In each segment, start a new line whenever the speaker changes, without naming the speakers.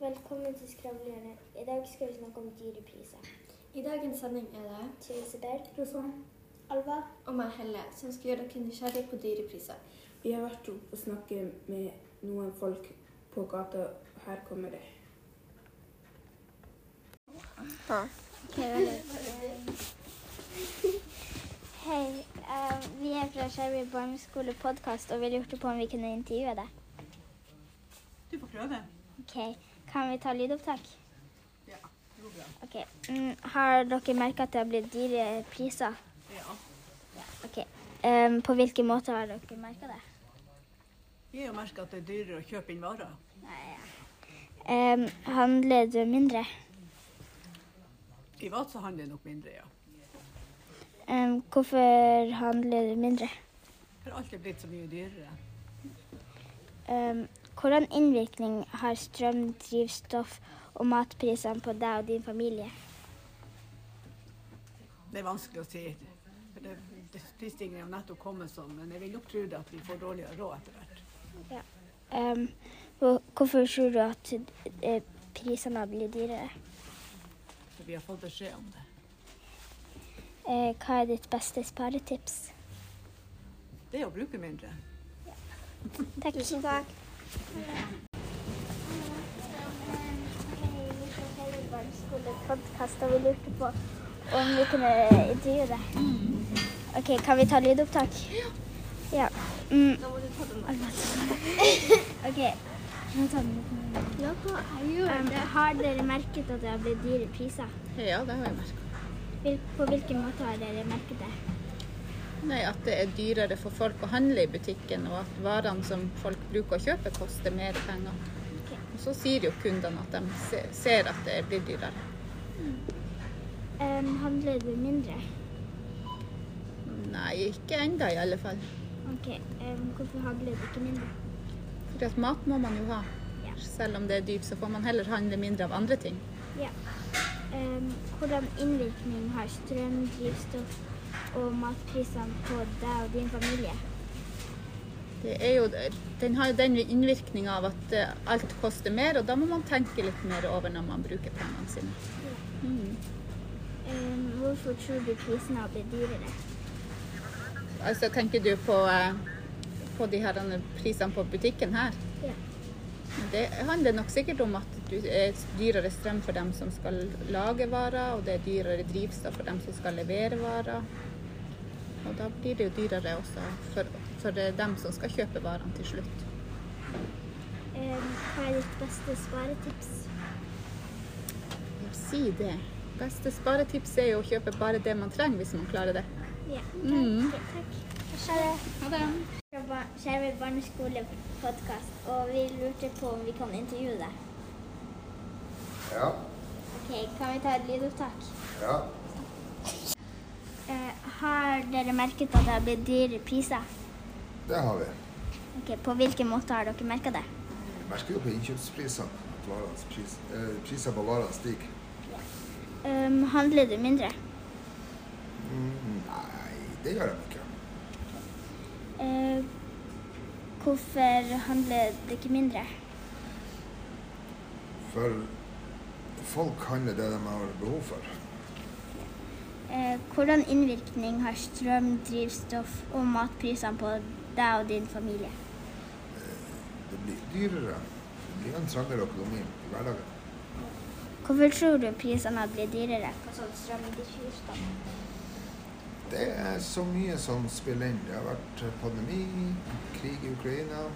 Velkommen til Skravlerne. I dag skal vi snakke om dyrepriser.
I dagens sending er det
Til Isabel,
Rosann,
Alva,
og meg, Helle, som skal gjøre dere nysgjerrig på dyrepriser.
vi har vært oppe og snakket med noen folk på gata, og her kommer det.
Hei, eh, vi er fra Skjervøy barneskole podkast og vi lurte på om vi kunne intervjue deg.
Du får prøve det.
Ok, Kan vi ta lydopptak?
Ja, det går bra.
Ok, mm, Har dere merka at det har blitt dyre priser?
Ja.
Ok, Em, På hvilke måter har dere merka det?
Vi har jo merket at det er dyrere å kjøpe inn varer.
Em, handler du mindre?
Privat så handler det nok mindre, ja.
Em, hvorfor handler du mindre?
For alt er blitt så mye dyrere.
Em, Ehm, hvordan innvirkning har strøm, drivstoff og matprisene på deg og din familie?
Det er vanskelig å si. For det, det prisstigningen har nettopp kommet sånn, men jeg vil nok tro det at vi får dårligere råd etter hvert.
Em, Ehm, hvor- hvorfor tror du at eh, prisene har blitt dyrere?
For vi har fått beskjed om det.
Eh, hva er ditt beste sparetips?
Det er å bruke mindre.
Takk. Tusen takk. Podcast, og vi lurte på om vi kunne intervjue deg. Ok, Kan vi ta lydopptak? Ja. Mm. ok. nå tar vi den. Um, har dere merket at det har blitt dyre priser?
Ja, det har jeg merka.
Hvil- På hvilken måte har dere merket det?
Nei, At det er dyrere for folk å handle i butikken, og at varene som folk bruker å kjøpe, koster mer penger. Og så sier jo kundene at de se- ser at det blir dyrere.
Um, handler du mindre?
Nei, ikke ennå i alle fall.
Ok, um, Hvorfor handler du ikke mindre?
For at mat må man jo ha.
Ja.
Selv om det er dyrt, så får man heller handle mindre av andre ting.
Ja. Ehm, hvordan innvirkning har strøm, drivstoff og matprisene på deg og din familie?
Det er jo, den har jo den innvirkninga av at eh, alt koster mer, og da må man tenke litt mer over når man bruker pengene sine. Mm.
Ehm, hvorfor tror du prisene har blitt dyrere?
Altså, tenker du på, eh, på de her prisene på butikken her?
Ja.
Det handler nok sikkert om at det er dyrere strøm for dem som skal lage varer, og det er dyrere drivstoff for dem som skal levere varer. Og da blir det jo dyrere også for, for dem som skal kjøpe varene til slutt.
Ehm, hva er ditt beste sparetips?
Si det. Beste sparetips er jo å kjøpe bare det man trenger, hvis man klarer det.
Ja.
Mm.
Ok, takk. Ha det.
Ha det.
Fra Bar- Skjervøy barneskolepodkast, og vi lurte på om vi kan intervjue deg.
Ja,
Ok, Kan vi ta et lydopptak?
ja.
Eh, har dere merket at det har blitt dyre priser?
Det har vi.
Ok, På hvilken måte har dere merka det?
Vi merker jo på innkjøpsprisene at varenes pris, eh, priser på varene stiger.
Ehm, handler du mindre?
Mm, nei, det gjør de ikke.
Eh, hvorfor handler det ikke mindre?
For folk handler det de har behov for.
Eh, hvordan innvirkning har strøm, drivstoff og matprisene på deg og din familie?
Det blir dyrere. Det blir en trangere økonomi i hverdagen.
Hvorfor tror du prisene har blitt dyrere? På sånn strøm og drivstoff.
Det er så mye som spiller inn. Det har vært pandemi, krig i Ukraina.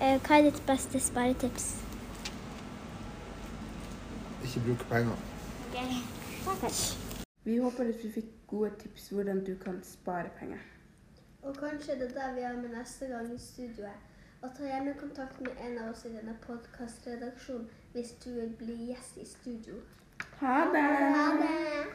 Eh, hva er ditt beste sparetips?
Ikke bruke penger.
Okay. Takk.
Vi håper at vi fikk gode tips hvordan du kan spare penger.
Og kanskje det er det vi gjør med neste gang i studioet. Og ta gjerne kontakt med en av oss i denne podkastredaksjonen hvis du vil bli gjest i studio.
Ha det!
Ha det!